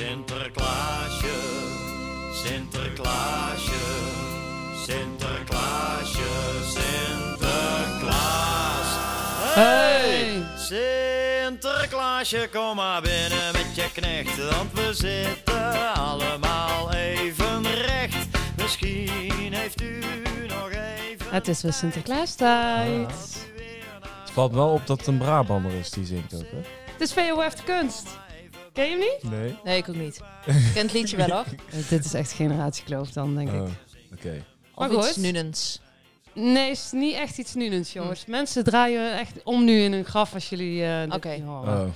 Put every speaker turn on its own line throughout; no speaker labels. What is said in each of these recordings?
Sinterklaasje, Sinterklaasje, Sinterklaasje, Sinterklaas. Hey! Sinterklaasje, kom maar binnen met je knecht, want we zitten allemaal even recht. Misschien heeft u nog even...
Het is weer Sinterklaastijd.
Het valt wel op dat het een Brabander is die zingt ook, hè?
Het is VOF de kunst. Ken je hem niet?
Nee.
Nee, ik ook niet. Ik ken het liedje wel hoor.
Eh, dit is echt generatiekloof dan, denk ik.
Oh, oké.
Of
Maar
iets
goed.
Nunens.
Nee, is niet echt iets nunens, jongens. Mensen draaien echt om nu in hun graf als jullie eh dit
Oké.
niet horen.
Oh.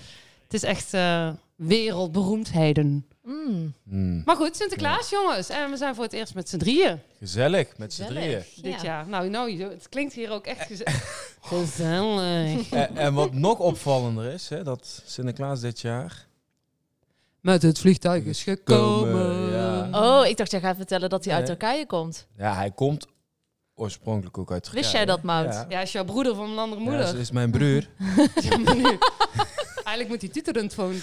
Het is echt eh, wereldberoemdheden.
Mm,
Hmm.
Maar goed, Sinterklaas, jongens. En we zijn voor het eerst met z'n drieën
Gezellig, met z'n drieën.
gezellig.
dit
Ja.
jaar. Nou, nou, je- het klinkt hier ook echt geze- gezellig.
En, Eh, en wat nog opvallender is, hè, dat Sinterklaas dit jaar...
Met het vliegtuig is gekomen.
Komen, ja.
Oh, ik dacht jij gaat vertellen dat hij uit
Nee.
Turkije komt.
Ja, hij komt oorspronkelijk ook uit Turkije.
Wist jij dat, Mout?
Ja.
Ja, is jouw broeder van een andere
Ja,
moeder.
ze is mijn broer.
Ja, maar nu. Eigenlijk moet hij tuterend phone.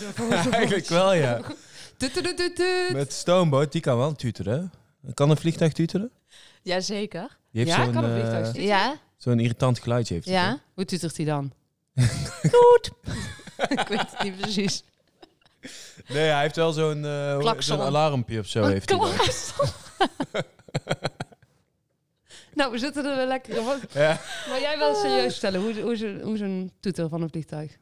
Eigenlijk wel, ja. Met Stoomboot, die kan wel tuteren. Kan een vliegtuig tuteren?
Jazeker.
Die heeft
Ja,
zo'n,
kan een
eh,
vliegtuig tuteren.
Ja?
Zo'n irritant geluidje heeft hij,
Ja?
Hoe tutert hij dan?
Goed. ik weet het niet
Oh,
precies.
toch? Nee, hij heeft wel zo'n eh,
Klakson.
zo'n alarmpje of zo. Heeft hij dan.
nou, we zitten er wel lekker in. Wat-
Ja.
Maar jij wil
Ah.
serieus stellen, hoe, hoe, ze- hoe zo'n toeter van een vliegtuig?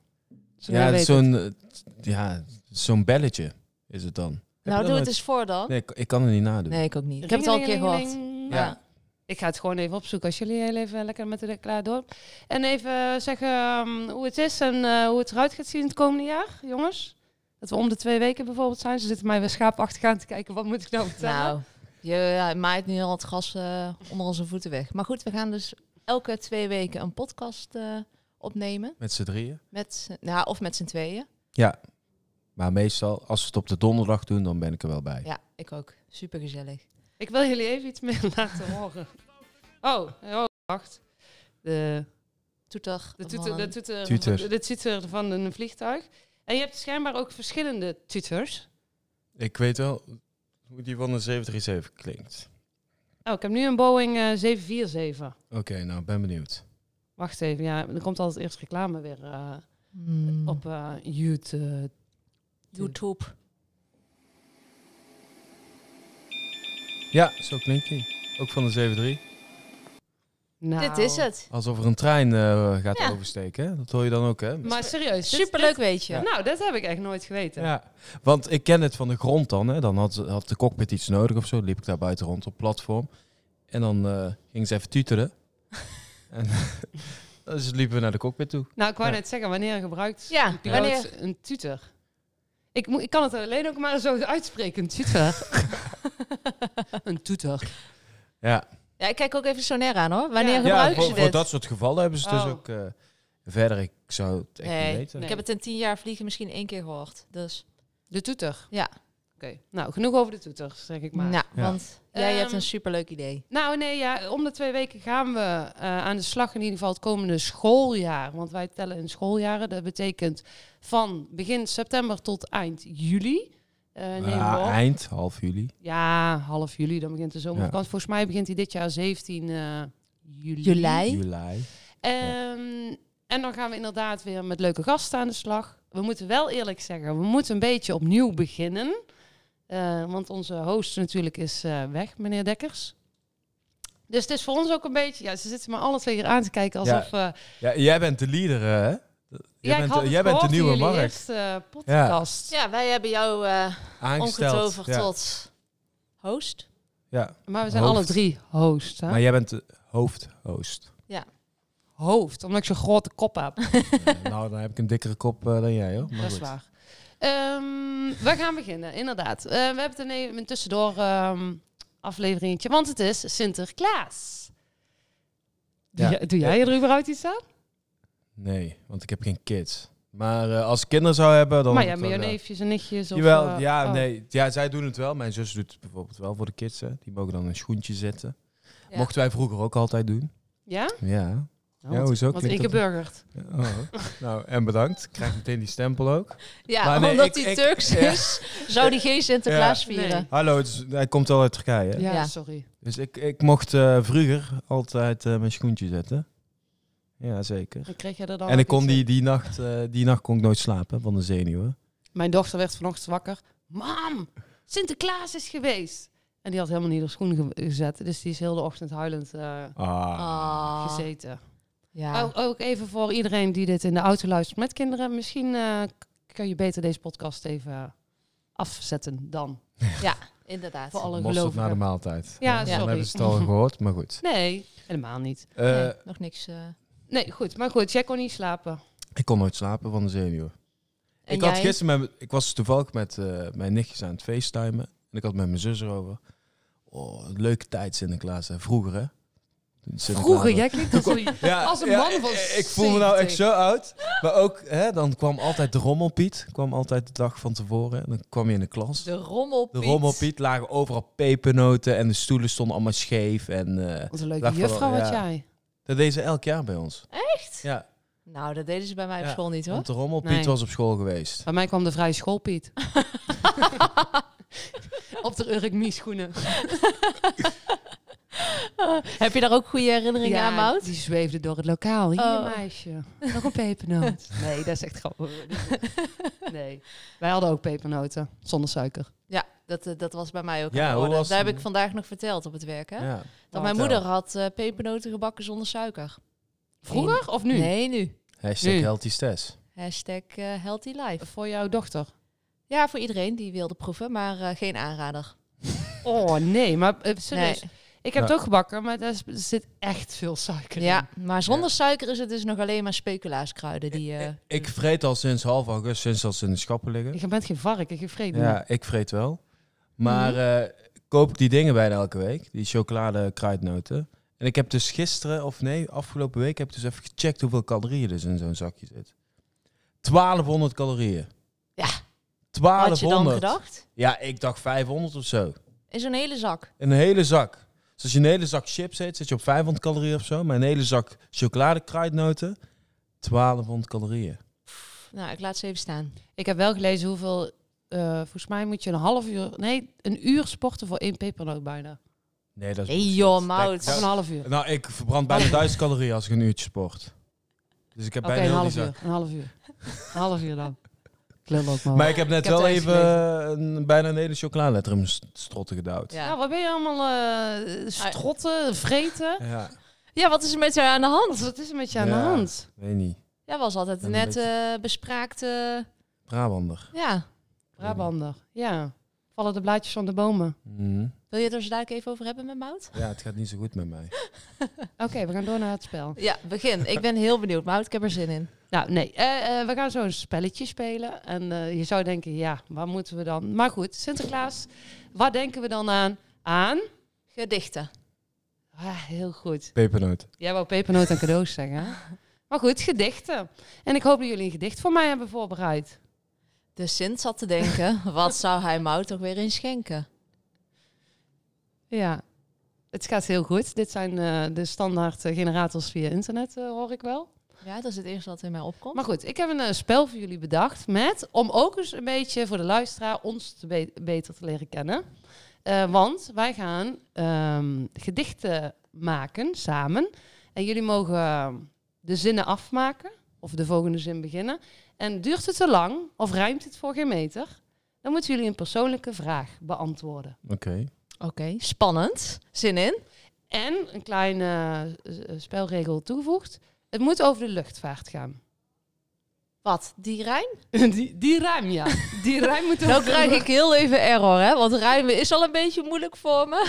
Zodat
Ja,
wij
het is
weten.
zo'n eh, ja, zo'n belletje is het dan. Heb je dat
Nou, doe het
nooit-
eens voor dan.
Nee, ik, ik kan het niet nadoen.
Nee, ik ook niet. Ik heb het al een keer gehoord.
Ringelingeling.
Ja.
Ik ga het gewoon even opzoeken als jullie heel even lekker met de klaar door. En even zeggen ehm, hoe het is en eh, hoe het eruit gaat zien het komende jaar, jongens. Dat we om de twee weken bijvoorbeeld zijn. Ze zitten mij weer schaapachtig aan te kijken. Wat moet ik nou vertellen?
Nou, je ja, maait nu al het gras eh, onder onze voeten weg. Maar goed, we gaan dus elke twee weken een podcast eh, opnemen.
Met z'n drieën.
Met, z'n- ja, of met z'n tweeën.
Maar meestal, als we het op de donderdag doen, dan ben ik er wel bij.
Ja, ik ook. Supergezellig.
Ik wil jullie even iets meer laten horen. Oh, oh wacht. De,
Toeter.
de, toeter, de, toeter,
Tutor.
de toeter van een vliegtuig. En je hebt schijnbaar ook verschillende tutors.
Ik weet wel hoe die van de 737 klinkt.
Oh, ik heb nu een Boeing eh, 747.
Oké, nou, ben benieuwd.
Wacht even, ja, er komt altijd eerst reclame weer eh,
Hmm.
op eh, YouTube.
YouTube.
Ja, zo klinkt die. Ook van de 73.
Nou.
Dit is het.
Alsof er een trein eh, gaat
Ja.
oversteken. hè? Dat hoor je dan ook, hè?
Maar serieus, dit-
Superleuk weet je.
dit- Nou, dat heb ik echt nooit geweten.
Ja, want ik ken het van de grond dan. Hè. Dan had, had de cockpit iets nodig of zo. Liep ik daar buiten rond op het platform. En dan eh, ging ze even tuteren. en dus liepen we naar de cockpit toe.
Nou, ik wou
Ja.
net zeggen, wanneer gebruikt
Ja,
een piloot
wanneer-
een tutor? Ik, moet- ik kan het alleen ook maar zo uitspreken, een tutor. een tutor.
Ja,
Ja, ik kijk ook even Sonair aan hoor. Wanneer
Ja.
ja
gebruiken
voor,
ze
voor
dit?
dat soort gevallen hebben ze het
Oh.
dus ook... eh, verder, ik zou het echt
Nee,
niet weten.
Ik
nee.
heb het in tien jaar vliegen misschien één keer gehoord. Dus
De tutor.
Ja.
Oké, nou, genoeg over de tutors, zeg ik maar.
nou,
Ja.
want jij hebt
Ehm,
een superleuk idee.
Nou, nee, ja, om de twee weken gaan we eh, aan de slag in ieder geval het komende schooljaar. Want wij tellen in schooljaren. Dat betekent van begin september tot eind juli. Eh nemen we
Ja,
op.
eind, half juli.
Ja, half juli, dan begint de zomervakantie. Volgens mij begint hij dit jaar 17 eh, juli.
Juli.
Juli.
Ehm, En dan gaan we inderdaad weer met leuke gasten aan de slag. We moeten wel eerlijk zeggen, we moeten een beetje opnieuw beginnen. Eh, want onze host natuurlijk is eh, weg, meneer Dekkers. Dus het is voor ons ook een beetje... Ja, ze zitten me alle twee hier aan te kijken alsof... eh,
Ja, jij bent de leader, eh, hè? Jij
ja, ik
bent,
had
de-
het
jij bent de
gehoord in
nieuwe
jullie
Mark.
eerste, eh, podcast.
Ja, wij hebben jou eh
Aangesteld.
omgetoverd
ja.
tot host.
Ja.
Maar we zijn
Hoofd.
alle drie host, hè?
Maar jij bent de hoofdhost.
Hoofd, omdat ik zo'n grote kop heb.
Eh, nou, dan heb ik een dikkere kop eh, dan jij, hoor. Maar
Dat is
goed.
waar. Ehm, we gaan beginnen, inderdaad. Eh, we hebben een, een tussendoor ehm, afleveringetje, want het is Sinterklaas. Doe,
Ja.
jij- doe jij er überhaupt iets aan?
Nee, want ik heb geen kids. Maar eh, als ik kinderen zou hebben, dan...
maar
had
ja,
ik
met
wel
je
gedaan.
neefjes en nichtjes. Of,
Jawel,
eh,
ja,
oh.
nee. Ja, zij doen het wel. Mijn zus doet het bijvoorbeeld wel voor de kids, hè. Die mogen dan een schoentje zetten.
Ja.
Mochten wij vroeger ook altijd doen.
Ja?
Ja.
Ja,
Ja,
want-
hoezo?
want
Klinkt dat-
ingeburgerd.
Ja, oh. nou, en bedankt. Ik Krijg meteen die stempel ook.
Ja,
Maar nee,
omdat
ik-
hij
ik-
Turks
ja.
is, zou die geen Sinterklaas
Ja.
vieren.
Hallo, het is- hij komt wel uit Turkije. hè?
Ja,
Ja.
sorry.
Dus ik, ik mocht eh, vroeger altijd eh, mijn schoentje zetten. Ja, zeker.
Dan kreeg je er dan
En ik
ook
kon
iets
die, die, nacht, eh, die nacht kon ik nooit slapen van de zenuwen.
in. eh, Mijn dochter werd vanochtend wakker. Mam, Sinterklaas is geweest. En die had helemaal niet haar schoen ge- gezet. Dus die is heel de ochtend huilend eh,
Ah.
Ah,
gezeten.
ja.
Ook, ook even voor iedereen die dit in de auto luistert met kinderen. Misschien eh, k- kun je beter deze podcast even afzetten dan.
inderdaad.
Voor alle
Mosterd na de
gelovigen.
maaltijd.
Ja,
Dan
sorry.
hebben ze het al gehoord, maar goed.
Nee, helemaal niet.
Eh,
Nee, nog niks. eh.
Nee, goed. Maar goed, jij kon niet slapen.
Ik kon nooit slapen van de zenuwen.
En
ik,
jij?
had gisteren met, ik was toevallig met eh, mijn nichtjes aan het facetimen. En ik had met mijn zus erover. Oh, een leuke tijd Sinterklaas, hè. Vroeger, hè. Toen Sinterklaas
Vroeger,
was-
jij klinkt als een...
Ja,
Als een
ja,
man van
Ik voel me nou echt zo oud. Maar ook, hè, dan kwam altijd de rommelpiet. Kwam altijd de dag van tevoren. En dan kwam je in de klas.
De rommelpiet.
De rommelpiet lagen overal pepernoten. En de stoelen stonden allemaal scheef. En eh,
Wat een leuke
Lag wel,
juffrouw had
ja.
jij.
dat deden ze elk jaar bij ons. Echt? Ja,
Nou, dat deden ze bij mij op
Ja,
school niet hoor.
want de rommelpiet
Nee.
was op school geweest.
Bij mij kwam de vrije schoolpiet. Op de Urk schoenen.
Heb je daar ook goede herinneringen aan, Mout?
die zweefde door het lokaal. Hier,
Oh.
meisje. Nog een pepernoot. Nee, dat is echt grappig. Nee. Wij hadden ook pepernoten. Zonder suiker.
Ja, dat, eh, dat was bij mij ook
Ja,
aan de
hoe
orde.
was
Daar heb
het?
ik vandaag nog verteld op het werk. Hè?
Ja.
Dat mijn
Vertel.
moeder had eh, pepernoten gebakken zonder suiker.
Vroeger of nu?
Nee, nu.
Hashtag
Nu.
healthy Stes.
Hashtag eh, healthy life.
Voor jouw dochter.
Ja, voor iedereen die wilde proeven, maar eh, geen aanrader.
Oh nee, maar eh,
Nee.
serieus. Ik heb het ook gebakken, maar daar is- er zit echt veel suiker in.
Ja, maar zonder suiker is het dus nog alleen maar speculaaskruiden. Die, eh,
Ik vreet al sinds half augustus, sinds dat ze in de schappen liggen.
Je bent geen varken, je vreet niet.
Ja, ik vreet wel. Maar eh, koop ik die dingen bijna elke week. Die chocolade kruidnoten. En ik heb dus gisteren, of nee, afgelopen week heb ik dus even gecheckt hoeveel calorieën dus in zo'n zakje zit. 1200 calorieën.
Ja. had
1200.
je dan gedacht?
Ja, ik dacht 500 of zo.
In zo'n hele zak.
Een hele zak. Dus als je een hele zak chips eet, zit je op 500 calorieën of zo. Maar een hele zak chocoladekruidnoten, 1200 calorieën.
Nou, ik laat ze even staan.
Ik heb wel gelezen hoeveel... eh, volgens mij moet je een half uur... Nee, een uur sporten voor één pepernoot bijna.
Nee, dat is
Nee,
bullshit.
joh,
Dat-
Maud.
Of een
dat-
half uur.
Nou, ik verbrand bijna 1000 calorieën als ik een uurtje sport. Dus ik heb
Oké, een
bijna heel die
half
zak.
uur. Een half uur. Een half uur dan. Ik lul ook maar.
Maar ik heb net
Ik heb
wel
het eens
even een, bijna een hele chocoladeletter in mijn st- strotten gedouwd.
ja, wat ben je allemaal eh, strotten, vreten?
Ja,
Ja, wat is er met jou aan de hand?
Wat is er met je aan de
Ja.
hand?
weet niet.
Jij was altijd
Een
net
beetje-
eh, bespraakte...
Brabander.
Ja,
Brabander, ja. Vallen de blaadjes van de bomen.
Mhm.
wil je het er zo dadelijk even over hebben met Mout?
Ja, het gaat niet zo goed met mij.
Oké, we gaan door naar het spel.
Ja, begin. Ik ben heel benieuwd. Mout, ik heb er zin in.
Nou, nee. eh, eh, we gaan zo een spelletje spelen. En eh, je zou denken, ja, waar moeten we dan? Maar goed, Sinterklaas, waar denken we dan aan? Aan?
Gedichten.
Ah, heel goed.
Pepernoot.
Jij wou pepernoot en cadeaus zeggen. hè? Maar goed, gedichten. En ik hoop dat jullie een gedicht voor mij hebben voorbereid.
De Sint zat te denken, wat zou hij Mout toch weer inschenken?
Ja. Het gaat heel goed. Dit zijn eh, de standaard eh, generators via internet, eh, hoor ik wel.
Ja, dat is het eerste wat in mij opkomt.
Maar goed, ik heb een eh, spel voor jullie bedacht met, om ook eens een beetje voor de luisteraar ons te be- beter te leren kennen. Eh, want wij gaan ehm, gedichten maken samen. En jullie mogen eh, de zinnen afmaken of de volgende zin beginnen. En duurt het te lang of ruimt het voor geen meter? Dan moeten jullie een persoonlijke vraag beantwoorden.
Oké.
Oké, spannend. Zin in?
En een kleine eh, s- eh, spelregel toegevoegd. Het moet over de luchtvaart gaan.
Wat, die Rijn?
Die, die ruim, ja. Die ruim moet over
Nou
de
krijg ik heel even error, hè? Want rijmen is al een beetje moeilijk voor me.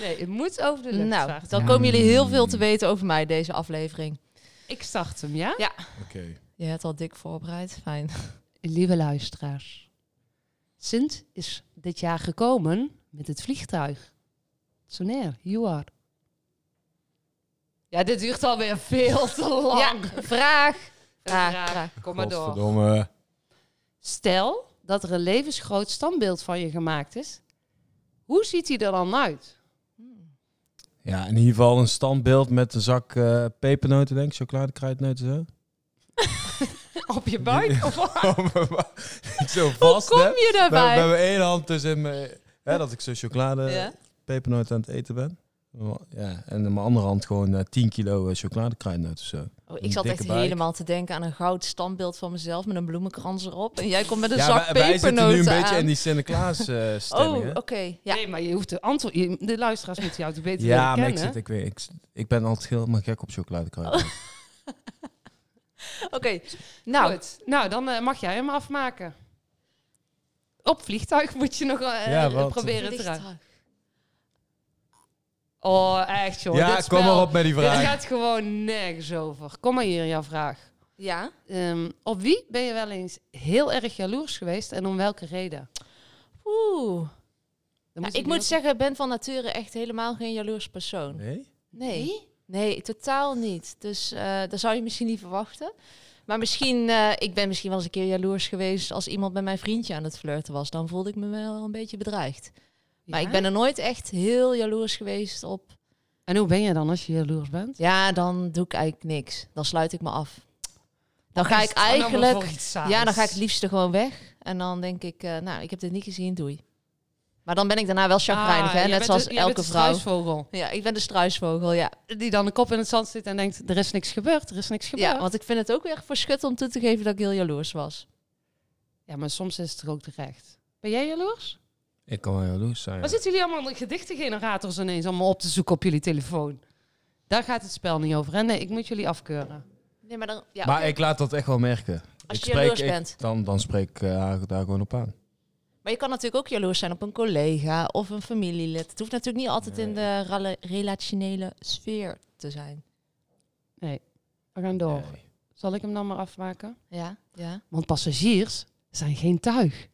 Nee, het moet over de luchtvaart.
Nou, dan
Ja.
komen jullie heel veel te weten over mij deze aflevering.
Ik start hem, ja?
Oké.
Je hebt al dik voorbereid, fijn.
Lieve luisteraars. Sint is dit jaar gekomen met het vliegtuig. Sonair, you are. Ja, dit duurt alweer veel te
Ja,
lang.
vraag. Vraag, vraag.
Kom maar door.
Godverdomme.
Stel dat er een levensgroot standbeeld van je gemaakt is. Hoe ziet hij er dan uit?
Ja, in ieder geval een standbeeld met een zak eh, pepernoten, denk ik. Chocoladekruidnoten, zo.
Op je buik? Of wat?
Oh, zo
Hoe
vast,
kom
hè?
je
Met met
daarbij?
mijn ene hand tussen mijn... Hè, dat ik zo chocolade,
Ja.
pepernoten aan het eten ben. Ja, en in mijn andere hand gewoon eh, 10 kilo eh, chocoladekruidnoten of zo.
Oh,
Een
ik zat
dikke
echt
buik.
helemaal te denken aan een goud standbeeld van mezelf met een bloemenkrans erop. En jij komt met een
ja,
zak
wij, wij zitten nu een
pepernoten
beetje in
aan.
die Sinterklaas eh
Oh,
stemming, hè?
oké. Ja.
Nee, maar je hoeft de antwoord... je- De luisteraars moeten jou toch beter
Ja, maar
leren
ik,
kennen?
zit, ik, weet, ik, zit- ik ben altijd helemaal gek op chocoladekruiden.
Oh, Oké. Nou,
Goed. Nou, dan eh, mag jij hem afmaken. Op vliegtuig moet je nog eh,
Ja, want-
proberen te raken.
vliegtuig.
Oh, echt joh.
ja,
dit
kom
spel-
maar op met die
Dit
vraag.
gaat gewoon nergens over. Kom maar hier, jouw vraag.
Ja.
Ehm, op wie ben je wel eens heel erg jaloers geweest en om welke reden?
Oeh.
Dan
Ja,
je
ik moet
heel-
zeggen, ik ben van nature echt helemaal geen jaloers persoon.
Nee?
Nee. Nee, totaal niet. Dus eh dat zou je misschien niet verwachten. Maar misschien, eh, ik ben misschien wel eens een keer jaloers geweest als iemand met mijn vriendje aan het flirten was. Dan voelde ik me wel een beetje bedreigd. Maar
Ja?
ik ben er nooit echt heel jaloers geweest op.
En hoe ben je dan als je jaloers bent?
Ja, dan doe ik eigenlijk niks. Dan sluit ik me af. Dan ga
Is
ik
het dan allemaal
eigenlijk.
voor iets saais?
Ja, dan ga ik het liefste gewoon weg. En dan denk ik, eh, nou, ik heb dit niet gezien, doei. Maar dan ben ik daarna wel chagrijnig,
Ah,
hè?
jij
Net
bent
zoals
de- jij bent
elke
de
vrouw.
struisvogel.
Ja, ik ben de struisvogel, ja.
Die dan de kop in het zand zit en denkt, er is niks gebeurd, er is niks gebeurd.
Ja, want ik vind het ook weer verschut om toe te geven dat ik heel jaloers was.
Ja, maar soms is het er ook terecht. Ben jij jaloers?
Ik kan wel jaloers zijn.
Waar zitten jullie allemaal de gedichtengenerators ineens allemaal op te zoeken op jullie telefoon? Daar gaat het spel niet over. En nee, ik moet jullie afkeuren.
Nee, maar dan... Ja,
maar ik laat dat echt wel merken.
Als
ik
je jaloers bent.
Dan, dan spreek ik eh, haar daar gewoon op aan.
maar je kan natuurlijk ook jaloers zijn op een collega of een familielid. Het hoeft natuurlijk niet altijd in de rale- relationele sfeer te zijn.
We gaan door.
Nee.
Zal ik hem dan maar afmaken?
Ja, ja.
Want passagiers zijn geen tuig.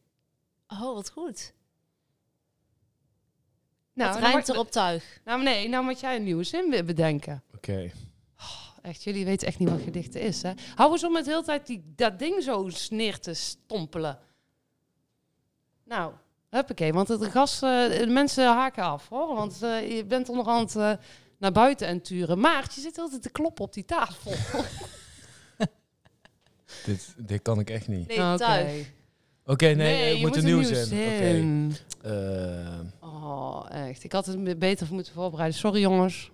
Oh, wat goed.
Nou,
het
nou,
rijmt
maar-
erop tuig.
nou nee, nou moet jij een nieuwe zin weer bedenken.
Oké.
Echt, jullie weten echt niet wat gedichten is, hè? Hou eens om het hele tijd die, dat ding zo sneer te stompelen. Nou, huppakee, want het gas, eh, de mensen haken af, hoor. Want eh, je bent onderhand eh, naar buiten en turen. Maar je zit altijd te kloppen op die tafel.
Dit, dit kan ik echt niet.
Nee, tuig.
Oké, nee, eh,
je
moet een nieuwe zin. Oké.
zin.
Eh,
Oh, echt. Ik had het me beter moeten voorbereiden. Sorry, jongens.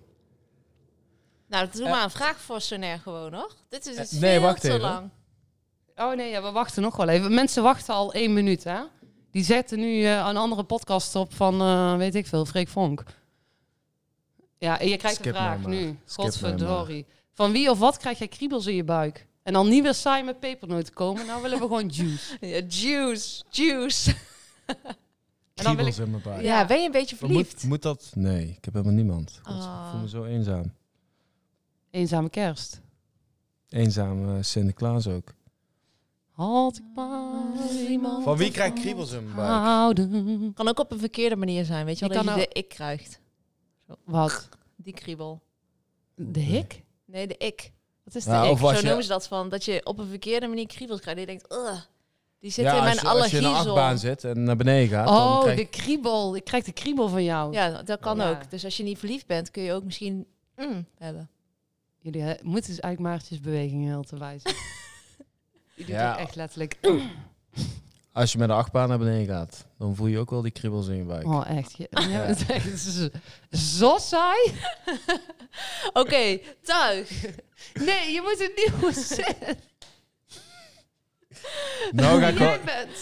Nou, doe
Eh.
maar een vraagforsenair gewoon, hoor. Dit is
Eh,
iets
nee,
veel
wacht
te
even.
lang.
Oh nee, ja, we wachten nog wel even. Mensen wachten al één minuut, hè? Die zetten nu eh, een andere podcast op van, eh, weet ik veel, Freek Vonk. Ja, en je krijgt
Skip
een vraag
mij maar.
nu.
Skip mij
Godverdorie. Van wie of wat krijg jij kriebels in je buik? En dan niet weer saai met pepernoten komen. Nou willen we gewoon juice.
Ja, juice, juice.
En dan wil
kriebels in mijn buik.
Ja, ben je een beetje
Maar Moet,
verliefd?
moet dat? Nee, ik heb helemaal niemand. God,
Ah.
Ik voel me zo eenzaam.
Eenzame kerst.
Eenzaam eh, Sinterklaas ook.
Halt ik maar iemand
Van wie krijg ik kriebels in mijn
Ah,
buik?
houden.
Kan ook op een verkeerde manier zijn, weet je
Je
wel. Dat
kan
je
ook-
de ik krijgt.
Wat?
Die kriebel.
De hik?
Nee, de ik. Wat is de
Ja,
ik?
Nou, of als
Zo
je-
noemen ze dat van. Dat je op een verkeerde manier kriebels krijgt. En je denkt, "Ugh, die zit
ja,
in mijn
als, je- als je in een achtbaan
allergiezon.
zit en naar beneden gaat, dan
Oh,
krijg
de kriebel. Ik krijg de kriebel van jou.
Ja, dat kan
Ja.
ook. Dus als je niet verliefd bent, kun je ook misschien mm, hebben.
Jullie eh, moeten dus eigenlijk Maartjesbewegingen heel te wijzen. Je doet
Ja.
ook echt letterlijk.
Als je met een achtbaan naar beneden gaat, dan voel je ook wel die kriebels in je buik.
Oh, echt. Je, je bent echt z- zo saai.
Oké, tuig.
Nee, je moet een nieuwe zin.
Nou ga ik wel...
Jij bent.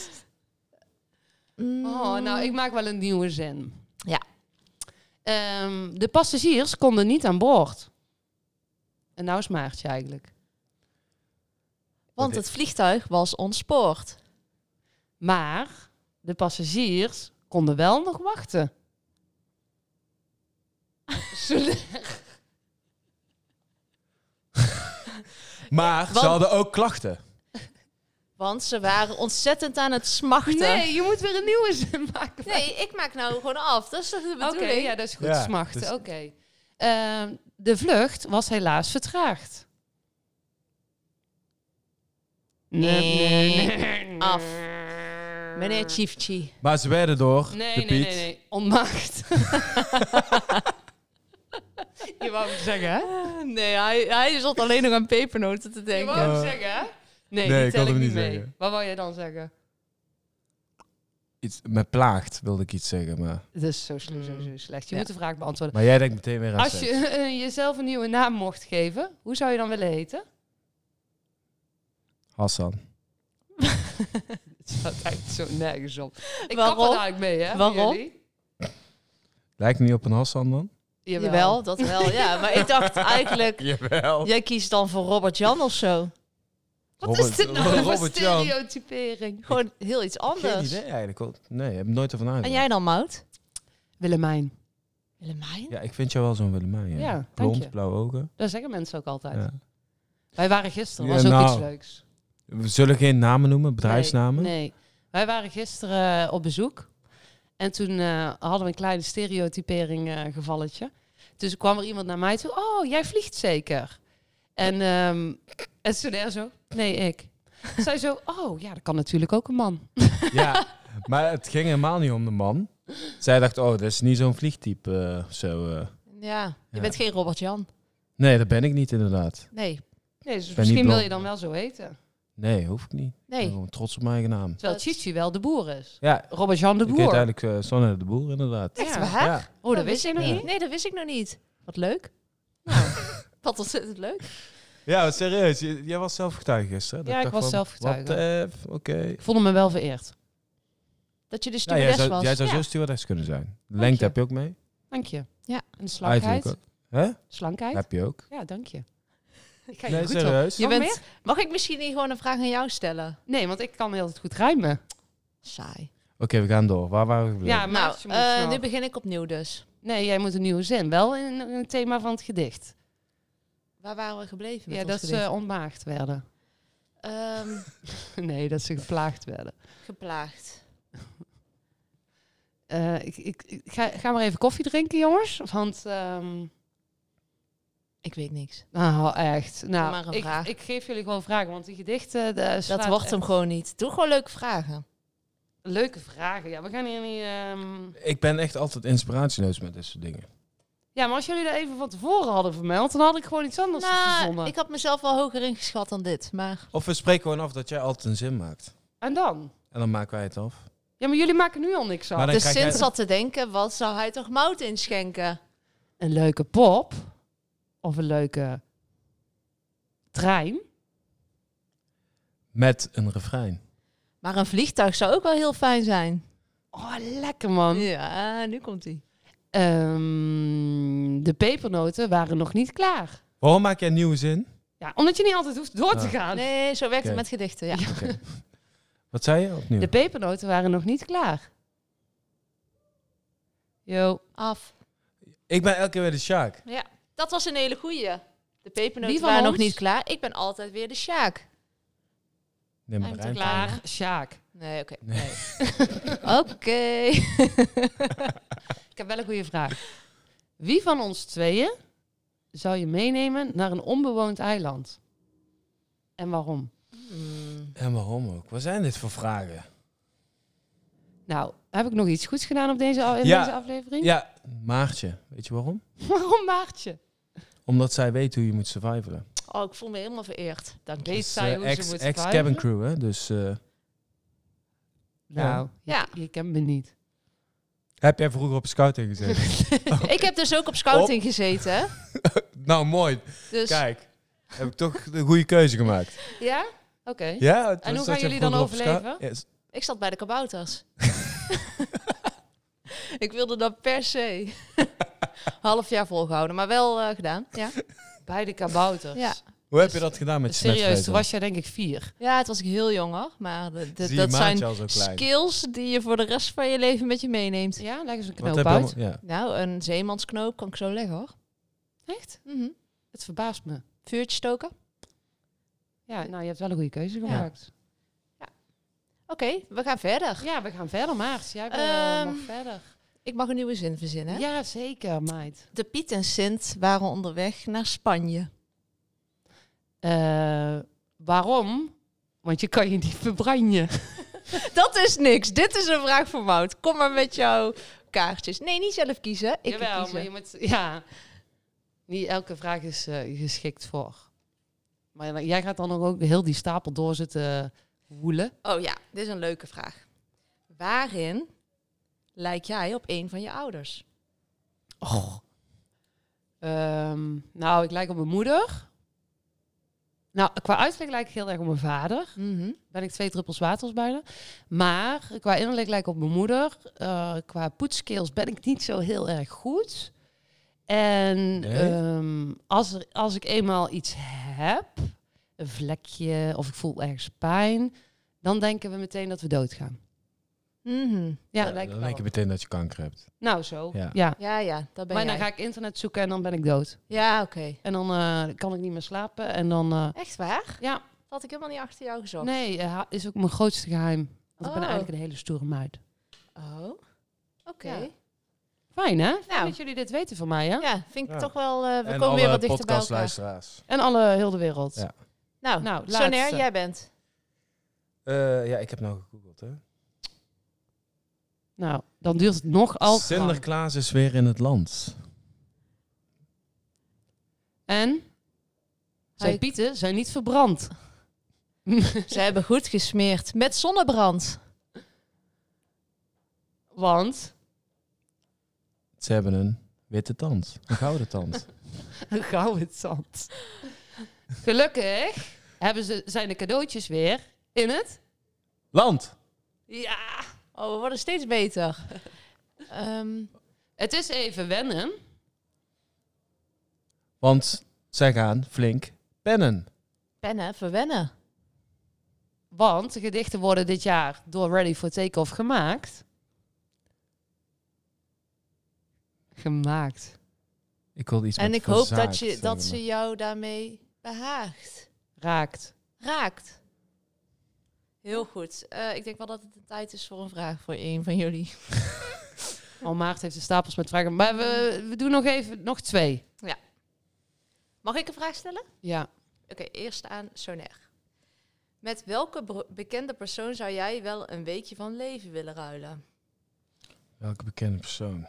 Mm.
Oh, nou, ik maak wel een nieuwe zin.
Ja.
Ehm, de passagiers konden niet aan boord. En nou is Maartje eigenlijk.
Want het vliegtuig was ontspoord.
Maar de passagiers konden wel nog wachten. Zullen-
Maar
Want-
ze hadden ook klachten.
Want ze waren ontzettend aan het smachten.
Nee, je moet weer een nieuwe zin maken.
Nee, ik maak nou gewoon af. Dat is toch de
Oké,
bedoeling?
ja, dat is goed.
Ja,
Smachten,
dus-
oké. Ehm, de vlucht was helaas vertraagd.
Nee,
nee.
Af. Meneer Chiefchi.
Maar ze werden door
Nee,
de
nee,
Piet.
nee, nee. Onmacht. Je wou hem zeggen, hè?
Nee, hij, hij zat alleen nog aan pepernoten te
Je
denken.
wou hem
Eh,
zeggen, hè? Nee,
nee,
die
ik
tel
had
ik
hem
niet
niet
mee.
zeggen.
Wat wou jij dan zeggen?
Iets, me plaagt, wilde ik iets zeggen. Maar,
Dat is zo, sle- zo,
Mm.
zo slecht. Je
Ja.
moet de vraag beantwoorden.
maar jij denkt meteen weer aan
Als
seks.
je eh, jezelf een nieuwe naam mocht geven, hoe zou je dan willen heten?
Hassan.
Het staat echt zo nergens op. Ik
Waarom?
kap er eigenlijk mee, hè? voor
Waarom?
jullie.
Lijkt niet op een Hassan dan?
Jawel.
Jawel, dat wel, ja. Maar ik dacht eigenlijk,
Jawel.
jij kiest dan voor Robert Jan of zo.
Wat is dit nou voor
Robert Jan.
stereotypering?
Gewoon heel iets
Geen
anders.
idee eigenlijk. hoor. Nee, ik heb nooit ervan
En
uitgedacht.
jij dan, Mout?
Willemijn.
Willemijn?
Ja, ik vind jou wel zo'n Willemijn. Ja,
Ja, dank
Blond,
je.
blauwe ogen.
Dat zeggen mensen ook altijd.
Ja.
Wij waren gisteren,
Ja,
was ook
nou,
iets leuks.
We zullen geen namen noemen, bedrijfsnamen.
Nee, nee. wij waren gisteren eh, op bezoek. En toen eh, hadden we een kleine stereotypering eh, gevalletje. Dus kwam er iemand naar mij toe. Oh, jij vliegt zeker. En, ehm en toen er zo, nee, ik. Zij zo, oh ja, dat kan natuurlijk ook een man.
Ja, maar het ging helemaal niet om de man. Zij dacht, oh, dat is niet zo'n vliegtype. eh, zo, eh.
Ja, je
Ja.
bent geen Robert Jan.
Nee, dat ben ik niet inderdaad.
Nee,
Nee, dus
niet
misschien wil
blond.
je dan wel zo heten.
Nee, hoef ik niet. Ik ben
nee.
gewoon trots op mijn eigen naam.
Terwijl
Dat-
Chichi wel de boer is.
Ja,
Robert-Jan de
ik heet
Boer.
eigenlijk eh Sanne de Boer inderdaad.
Echt
Ja.
waar?
Ja.
Oh, dat wist ik nog
Ja.
niet.
Nee, dat wist ik nog niet. Wat leuk. Nou, wat ontzettend leuk.
ja, wat serieus. J- Jij was zelf getuige gisteren.
Ja, ik was zelf getuige.
Wat de F? Oké.
Ik voelde me wel vereerd.
Dat je de
Nou, jij
stewardess
zou,
was.
jij zou
Ja.
zo stewardess kunnen zijn. Lengte
je.
heb je ook mee.
Dank je.
Ja.
En de slankheid.
Uiterlijk ook. Hè?
Slankheid?
Heb je ook.
Ja, dank je. Ik ga je
Nee,
goed op.
serieus.
Je
Nog
bent, mag ik misschien hier gewoon een vraag aan jou stellen?
Nee, want ik kan heel het goed rijmen.
Saai.
Oké, we gaan door. Waar waren we gebleven?
Ja, maar
nou,
je moet
eh,
snel.
nu begin ik opnieuw dus.
Nee, jij moet een nieuwe zin. Wel in, in het thema van het gedicht.
Waar waren we gebleven met
ja,
ons
dat ze
gedicht?
ontmaagd werden.
Ehm,
nee, dat ze geplaagd werden.
geplaagd.
Eh, ik, ik, ik ga, ga maar even koffie drinken, jongens. Want, ehm,
Ik weet niks.
nou echt. Nou,
Maar een
ik,
vraag.
ik geef jullie gewoon vragen, want die gedichten... eh, de-
Dat
slaat
wordt
echt
hem gewoon niet. Doe gewoon leuke vragen.
Leuke vragen. Ja, we gaan hier niet... ehm,
Ik ben echt altijd inspiratieloos met dit soort dingen.
Ja, maar als jullie dat even van tevoren hadden vermeld, dan had ik gewoon iets anders
Nou,
verzonnen.
ik had mezelf wel hoger ingeschat dan dit. Maar
Of we spreken gewoon af dat jij altijd een zin maakt.
En dan?
En dan maken wij het af.
Ja, maar jullie maken nu al niks af.
Maar dan
de
krijg
Sint
jij-
zat te denken, wat zou hij toch mout inschenken?
een leuke pop of een leuke trein.
Met een refrein.
Maar een vliegtuig zou ook wel heel fijn zijn.
Oh, lekker man.
Ja, nu komt hij.
Ehm, de pepernoten waren nog niet klaar.
Waarom maak jij een nieuwe zin?
Ja, omdat je niet altijd hoeft door te
Ja.
gaan.
Nee, zo werkt
Oké.
het met gedichten, ja.
Oké. Wat zei je opnieuw?
De pepernoten waren nog niet klaar. Yo,
Af.
Ik ben elke keer weer de Sjaak.
Ja, dat was een hele goeie. De
Wie
pepernoten
van
waren nog
ons?
niet klaar. Ik ben altijd weer de Sjaak.
Neem
Hij
een
moet er
rijmpje.
klaar, Sjaak.
Nee, oké.
Nee.
Oké.
Ik heb wel een goede vraag. Wie van ons tweeën zou je meenemen naar een onbewoond eiland? En waarom?
Mm.
En waarom ook? Wat zijn dit voor vragen?
Nou, heb ik nog iets goeds gedaan op deze, in
Ja.
deze aflevering?
Ja, Maartje. Weet je waarom?
Waarom Maartje?
Omdat zij weet hoe je moet survivalen.
Oh, ik voel me helemaal vereerd. Dank je.
Weet
Dus,
zij
eh,
hoe ze
ex,
moet
ex cabin
surviven?
crew, hè? Dus eh,
Nou,
Ja.
Je, je kent me niet.
heb jij vroeger op scouting gezeten?
Ik heb dus ook op scouting gezeten. hè.
nou, mooi.
Dus
Kijk, heb ik toch de goede keuze gemaakt.
Ja? Oké.
Ja? het
En hoe
was dat
gaan
je
jullie dan
vroeger op scout-
overleven?
Yes.
ik zat bij de kabouters. ik wilde dat per se. Half jaar volgehouden, maar wel eh, gedaan. Ja.
Bij de kabouters.
Ja.
Hoe heb je dat gedaan met je
Dus Serieus,
smetvrees
toen
dan?
was jij denk ik vier.
ja, het was ik heel jong hoor. Maar de- de-
Zie je
dat zijn
maatje al zo klein.
skills die je voor de rest van je leven met je meeneemt.
Ja, leg eens een
Wat
knoop
heb je
uit.
allemaal- ja.
Nou, een zeemansknoop kan ik zo leggen hoor.
Echt?
Mhm.
Het verbaast me.
Vuurtje stoken.
Ja, nou, je hebt wel een goede keuze
Ja.
gemaakt.
Oké, we gaan verder.
Ja, we gaan verder, Maart. Jij eh,
Ehm,
mag verder.
Ik mag een nieuwe zin verzinnen.
Ja, zeker, meid.
De Piet en Sint waren onderweg naar Spanje.
Eh, waarom? Want je kan je niet verbranden.
Dat is niks. Dit is een vraag voor Mout. Kom maar met jouw kaartjes. Nee, niet zelf kiezen. Ik
Jawel,
kan kiezen.
maar je moet... Ja. Niet elke vraag is eh, geschikt voor. Maar jij gaat dan nog ook heel die stapel door zitten woelen.
Oh ja, dit is een leuke vraag. Waarin lijk jij op een van je ouders?
Ehm, nou, ik lijk op mijn moeder. Nou, qua uiterlijk lijk ik heel erg op mijn vader. ben ik twee druppels waters bijna. Maar qua innerlijk lijk ik op mijn moeder. Eh, qua poetskills ben ik niet zo heel erg goed. En
Nee?
ehm, als, er, als ik eenmaal iets heb, een vlekje of ik voel ergens pijn, dan denken we meteen dat we doodgaan.
Mhm.
Ja, lijkt
dan
me
denk je
wel.
meteen dat je kanker hebt.
Nou, zo. Ja.
Ja.
Ja, ja, dat ben
Maar dan
jij.
ga ik internet zoeken en dan ben ik dood.
Ja, oké.
En dan eh, kan ik niet meer slapen. En dan, eh,
Echt waar?
ja,
Had ik helemaal niet achter jou gezocht.
nee, eh, ha- is ook mijn grootste geheim. Want ik ben
Oh.
eigenlijk een hele stoere muid.
Oh, oké.
Ja. Fijn, hè? Fijn
Nou.
dat jullie dit weten van mij, hè?
Ja. vind ik
Ja.
toch wel... eh, we
en
komen weer
alle
wat dichter bij elkaar.
podcastluisteraars.
En alle heel de wereld.
Ja.
Nou,
Nou,
Soner,
laatste.
jij bent.
Eh, ja, ik heb nou gegoogeld, hè.
Nou, dan duurt het nog al. te lang.
Sinterklaas is weer in het land.
En zijn
Hij-
pieten zijn niet verbrand.
Ze hebben goed gesmeerd met zonnebrand.
Want
Ze hebben een witte tand, een gouden tand.
een gouden zand. Gelukkig hebben ze, zijn de cadeautjes weer in het.
land!
Ja.
Oh, we worden steeds beter. Ehm,
Het is even wennen.
Want zij gaan flink pennen.
pennen, verwennen.
Want de gedichten worden dit jaar door Ready for Takeoff gemaakt. Gemaakt.
Ik wil iets
En
met
ik hoop dat,
verzaakt
je, dat
hebben.
ze jou daarmee behaagt.
Raakt.
Raakt. Heel goed. Eh, ik denk wel dat het de tijd is voor een vraag voor een van jullie.
Al Maart heeft de stapels met vragen. Maar we, we doen nog even, nog twee.
Mag ik een vraag stellen?
Ja.
Oké, eerst aan Soner. Met welke bro- bekende persoon zou jij wel een weekje van leven willen ruilen?
Welke bekende persoon?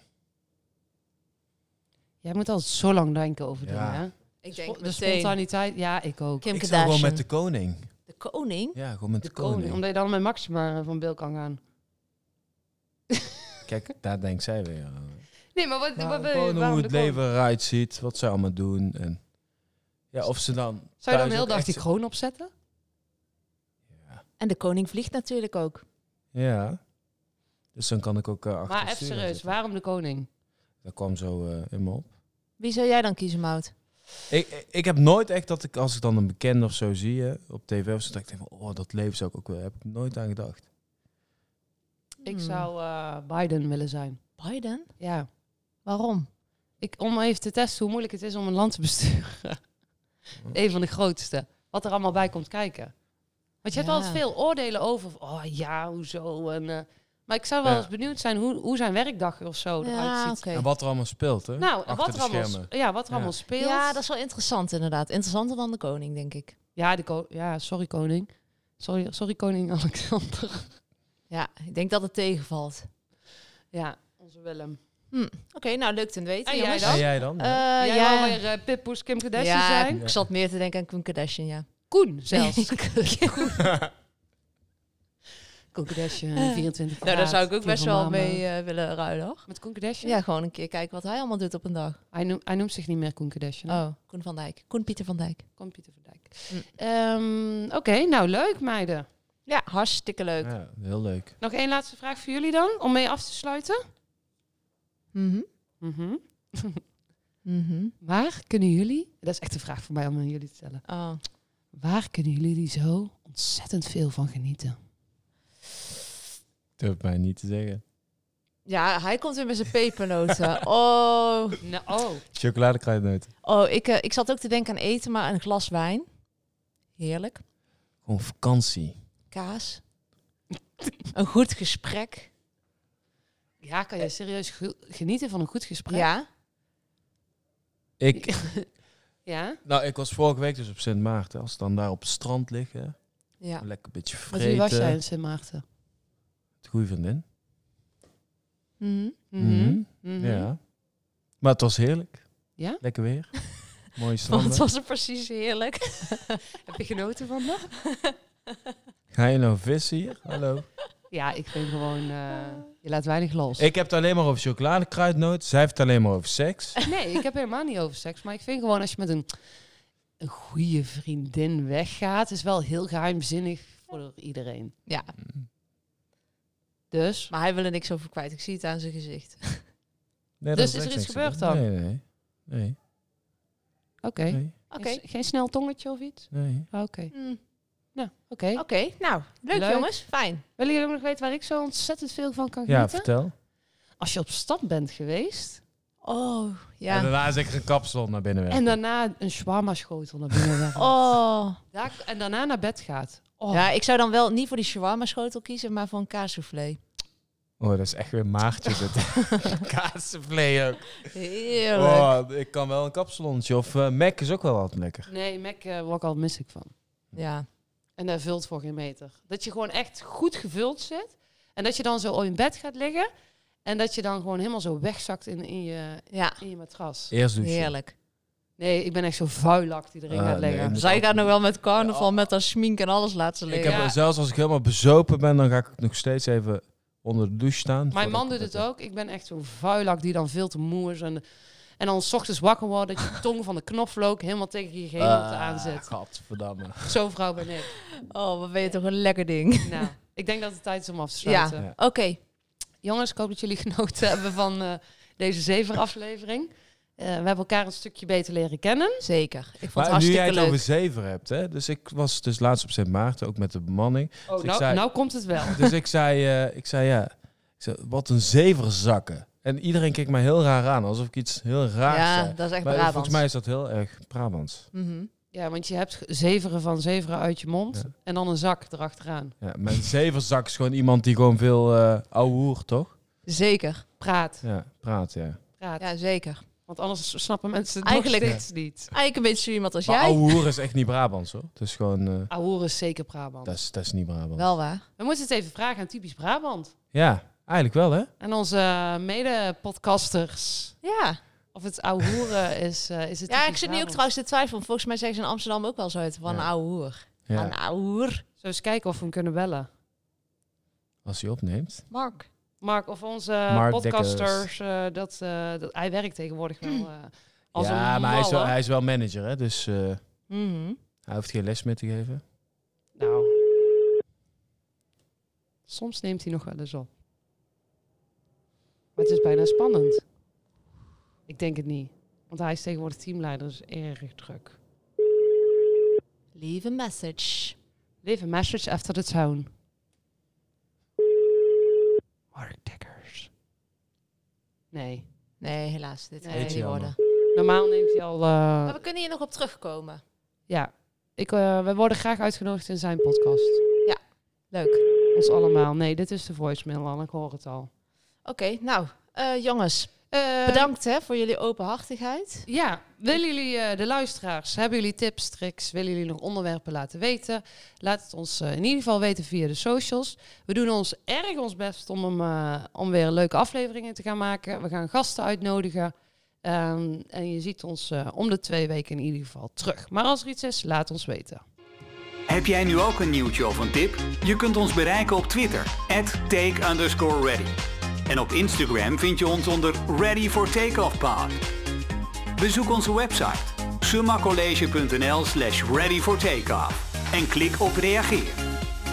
Jij moet altijd zo lang denken over
Ja.
dingen, hè?
Ik
Spo-
denk
de
meteen
spontaniteit, ja, ik ook.
Kim
ik zou
Kardashian.
gewoon met de koning.
de koning?
Ja, gewoon met de,
De koning. Omdat je dan met Maxima eh, van beeld kan gaan.
Kijk, daar denkt zij weer aan.
Nee, maar wat,
Nou,
wat wil je?
gewoon hoe
waarom
het
de koning?
leven eruit ziet, wat ze allemaal doen. En ja, of ze dan...
Zou je dan
thuis
de hele
ook
dag
echt
die
zo-
kroon opzetten?
En de koning vliegt natuurlijk ook.
Ja. Dus dan kan ik ook eh, achter
maar
het
even
stuur
serieus,
zitten.
waarom de koning?
Dat kwam zo eh, in me op.
Wie zou jij dan kiezen, Mout?
Ik, ik heb nooit echt dat ik, als ik dan een bekende of zo zie hè, op tv of zo, dat ik denk van, oh, dat leven zou ik ook willen. Heb ik nooit aan gedacht.
Ik
Hmm.
zou eh, Biden willen zijn.
Biden?
Ja.
Waarom?
Ik, om even te testen hoe moeilijk het is om een land te besturen. een van de grootste. Wat er allemaal bij komt kijken. Want je hebt
Ja.
altijd veel oordelen over. Oh ja, hoezo. En, eh, maar ik zou wel
Ja.
eens benieuwd zijn hoe, hoe zijn werkdag of zo eruit
Ja,
ziet.
oké.
En wat er allemaal speelt, hè?
Nou, en
Achter
wat
de
er, allemaal,
schermen.
sp- ja, wat er
Ja.
allemaal speelt.
Ja, dat is wel interessant inderdaad. Interessanter dan de koning, denk ik.
Ja, de ko- ja, sorry koning. Sorry, sorry koning Alexander.
Ja, ik denk dat het tegenvalt.
Ja, onze Willem.
Oké, nou leuk te weten.
En jij
jongens.
dan?
En jij dan?
Eh,
ja?
Jij
ja,
wou weer eh, Pippoes Kim Kardashian
ja,
zijn?
ik zat meer te denken aan Kim Kardashian, ja.
Koen zelfs.
Goed.
Koen Kardashian, 24
nou, daar
graad,
zou ik ook
die
best
van
wel
mama.
mee eh, willen ruilen, hoor.
Met Koen Kardashian?
Ja, gewoon een keer kijken wat hij allemaal doet op een dag.
Hij, noem- hij noemt zich niet meer Koen Kardashian. hè?
Oh, Koen van Dijk. Koen Pieter van Dijk.
Komt Pieter van Dijk.
Mm.
Ehm, Oké, nou leuk meiden.
Ja, hartstikke leuk.
Ja, heel leuk.
Nog één laatste vraag voor jullie dan, om mee af te sluiten.
Mhm.
Mhm.
Mhm.
Waar kunnen jullie, dat is echt een vraag voor mij om aan jullie te stellen.
Oh.
Waar kunnen jullie die zo ontzettend veel van genieten?
Durf mij niet te zeggen.
Ja, hij komt weer met zijn pepernoten. oh,
Nou, oh.
Chocoladekruidnoten.
oh ik, eh, ik zat ook te denken aan eten, maar een glas wijn. Heerlijk.
Gewoon vakantie.
Kaas. een goed gesprek.
Ja, kan je serieus ge- genieten van een goed gesprek?
Ja.
Ik,
Ja?
nou, ik was vorige week dus op Sint Maarten. Als ze dan daar op het strand liggen,
Ja.
lekker een beetje
Met
vreten.
wie was jij in Sint Maarten?
Het goede vriendin.
Mhm.
Mhm. Ja. Maar het was heerlijk.
Mhm. Ja?
Lekker weer. Mooie
Want
stranden.
was het precies heerlijk.
Heb je genoten van dat?
Ga je nou vissen hier? Hallo.
Ja, ik vind gewoon... eh, je laat weinig los.
Ik heb het alleen maar over chocoladekruidnoot. Zij heeft het alleen maar over seks.
Nee, ik heb helemaal niet over seks. Maar ik vind gewoon als je met een, een goede vriendin weggaat... is wel heel geheimzinnig voor iedereen.
Ja,
Dus...
maar hij wil er niks over kwijt. Ik zie het aan zijn gezicht.
Nee,
Dus is
dat
er
echt
iets
niks.
gebeurd dan?
Nee, nee. Nee.
Oké.
Nee.
Oké.
Geen, geen snel tongetje of iets?
nee.
Ah, Oké.
Mm,
Nou, oké.
Oké, nou, leuk,
Leuk.
jongens. Fijn.
Willen jullie ook nog weten waar ik zo ontzettend veel van kan
Ja,
genieten?
vertel.
Als je op stap bent geweest...
Oh,
En
ja.
daarna is ik een kapsel naar binnen weg.
En daarna een shawarma schotel naar binnen
eh,
werkt.
Oh.
Daar- en daarna naar bed gaat. Oh.
Ja, ik zou dan wel niet voor die shawarma schotel kiezen, maar voor een kaassoufflé.
Oh, dat is echt weer maartje dit. Kaasvlee ook.
Heerlijk.
Oh, ik kan wel een kapsalontje. Of eh, Mac is ook wel altijd lekker.
Nee, Mac eh, word ik al misselijk van.
Ja.
En daar vult voor geen meter. Dat je gewoon echt goed gevuld zit. En dat je dan zo in bed gaat liggen. En dat je dan gewoon helemaal zo wegzakt in, in, je,
ja,
in je matras.
Eerst douchen.
heerlijk.
Nee, ik ben echt zo vuilak die erin
Ah,
gaat
nee,
liggen.
moet
Zij gaat nog nou wel met carnaval,
Ja.
met haar smink en alles laten
Ik
liggen.
heb
Ja.
zelfs als ik helemaal bezopen ben, dan ga ik nog steeds even onder de douche staan.
Mijn man
Voordat
doet
ik
het ook. Ik ben echt zo'n vuilak die dan veel te moe is. En, en dan s ochtends wakker worden dat je tong van de knoflook helemaal tegen je
Ah,
gehemelte aanzet.
Gadverdamme.
Zo'n vrouw ben ik.
Oh, wat ben je toch een lekker ding.
Nou, ik denk dat het tijd is om af te
Ja.
sluiten.
Ja.
Oké,
Jongens, ik hoop dat jullie genoten hebben van eh, deze zeven aflevering. Eh, we hebben elkaar een stukje beter leren kennen.
zeker. Ik vond het
Maar nu jij
hartstikke
het
leuk.
over zeven hebt, hè? Dus ik was dus laatst op Sint Maarten, ook met de bemanning.
Oh,
Dus ik
nou,
zei-
nou komt het wel.
Dus ik zei, eh, ik zei ja, ik zei, wat een zeverzakken. En iedereen keek mij heel raar aan, alsof ik iets heel raars
Ja,
zei.
dat is echt
Maar
Brabants.
volgens mij is dat heel erg Brabants.
Mhm.
Ja, want je hebt zeveren van zeveren uit je mond
Ja.
en dan een zak erachteraan.
Ja, maar een zeverzak is gewoon iemand die gewoon veel eh ouwe hoer, toch?
Zeker.
Praat,
Ja, praat, ja.
Dus
praat.
Ja, zeker.
Want anders snappen mensen het
Eigenlijk-
nog steeds niet.
Eigenlijk een beetje zo iemand als
Maar
jij.
ouwe hoer is echt niet Brabants, hoor. Het is gewoon, eh,
Ahoer is zeker Brabant.
dat, is, dat is niet Brabant.
Wel waar.
We moeten het even vragen aan typisch Brabant.
Ja, eigenlijk wel, hè?
En onze eh, mede-podcasters.
Ja.
Of het ahoeren is, eh, is het
Ja, ik
typisch
zit nu ook
Brabant.
trouwens te twijfelen. want Volgens mij zeggen ze in Amsterdam ook wel zo uit. Van
Ja.
een ouwe hoer. Van
Ja,
Een ouwe hoer.
Zo eens kijken of we hem kunnen bellen.
als hij opneemt.
Mark.
Mark of onze
Mark
podcasters, eh, dat, eh, dat, hij werkt tegenwoordig wel eh, als een
ja, maar hij is, wel,
malle.
hij is wel manager, hè? Dus eh,
Mhm.
hij hoeft geen les meer te geven.
Nou. Soms neemt hij nog wel eens op. Maar het is bijna spannend. Ik denk het niet. Want hij is tegenwoordig teamleider, dus erg druk.
Leave a message.
Leave a message after the tone. Mark Dekkers. Nee.
Nee, helaas. Dit gaat
Nee.
niet worden.
Normaal neemt hij al... eh,
Maar we kunnen hier nog op terugkomen.
Ja, ik, eh, we worden graag uitgenodigd in zijn podcast.
Leuk.
Ons allemaal. Nee, dit is de voicemail al. Ik hoor het al.
Oké, nou. eh, jongens,
Eh,
bedankt hè, voor jullie openhartigheid.
Ja, willen jullie, eh, de luisteraars, hebben jullie tips, tricks? Willen jullie nog onderwerpen laten weten? Laat het ons eh, in ieder geval weten via de socials. We doen ons erg ons best om, hem, eh, om weer leuke afleveringen te gaan maken. We gaan gasten uitnodigen. Ehm, en je ziet ons eh, om de twee weken in ieder geval terug. Maar als er iets is, laat ons weten.
Heb jij nu ook een nieuwtje of een tip? Je kunt ons bereiken op Twitter, take ready. En op Instagram vind je ons onder Ready for Takeoff Pod. Bezoek onze website summacollege.nl slash ready for takeoff en klik op reageer.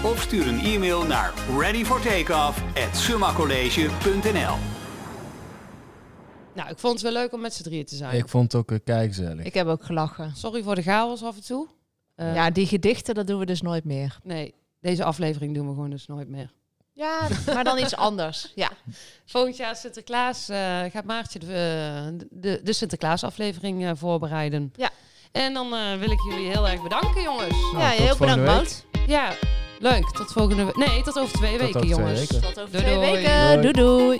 Of stuur een e-mail naar readyfortakeoff at summacollege.nl.
Nou, ik vond het wel leuk om met z'n drieën te zijn.
Ik vond het ook eh, een kijkzellig.
Ik heb ook gelachen.
Sorry voor de chaos af en toe. Eh,
Ja, die gedichten, dat doen we dus nooit meer.
Nee, deze aflevering doen we gewoon dus nooit meer.
Ja, maar dan iets anders. Ja.
Volgend jaar Sinterklaas eh, gaat Maartje de, eh, de, de Sinterklaasaflevering eh, voorbereiden.
Ja.
En dan eh, wil ik jullie heel erg bedanken, jongens.
Nou,
ja,
tot
heel
volgende
bedankt,
week.
Mout.
Ja, leuk. Tot volgende week. Nee, tot over twee
Tot
weken,
over twee
jongens.
weken.
Tot over
Doei,
twee
doei.
weken.
Doei.
Doei doei.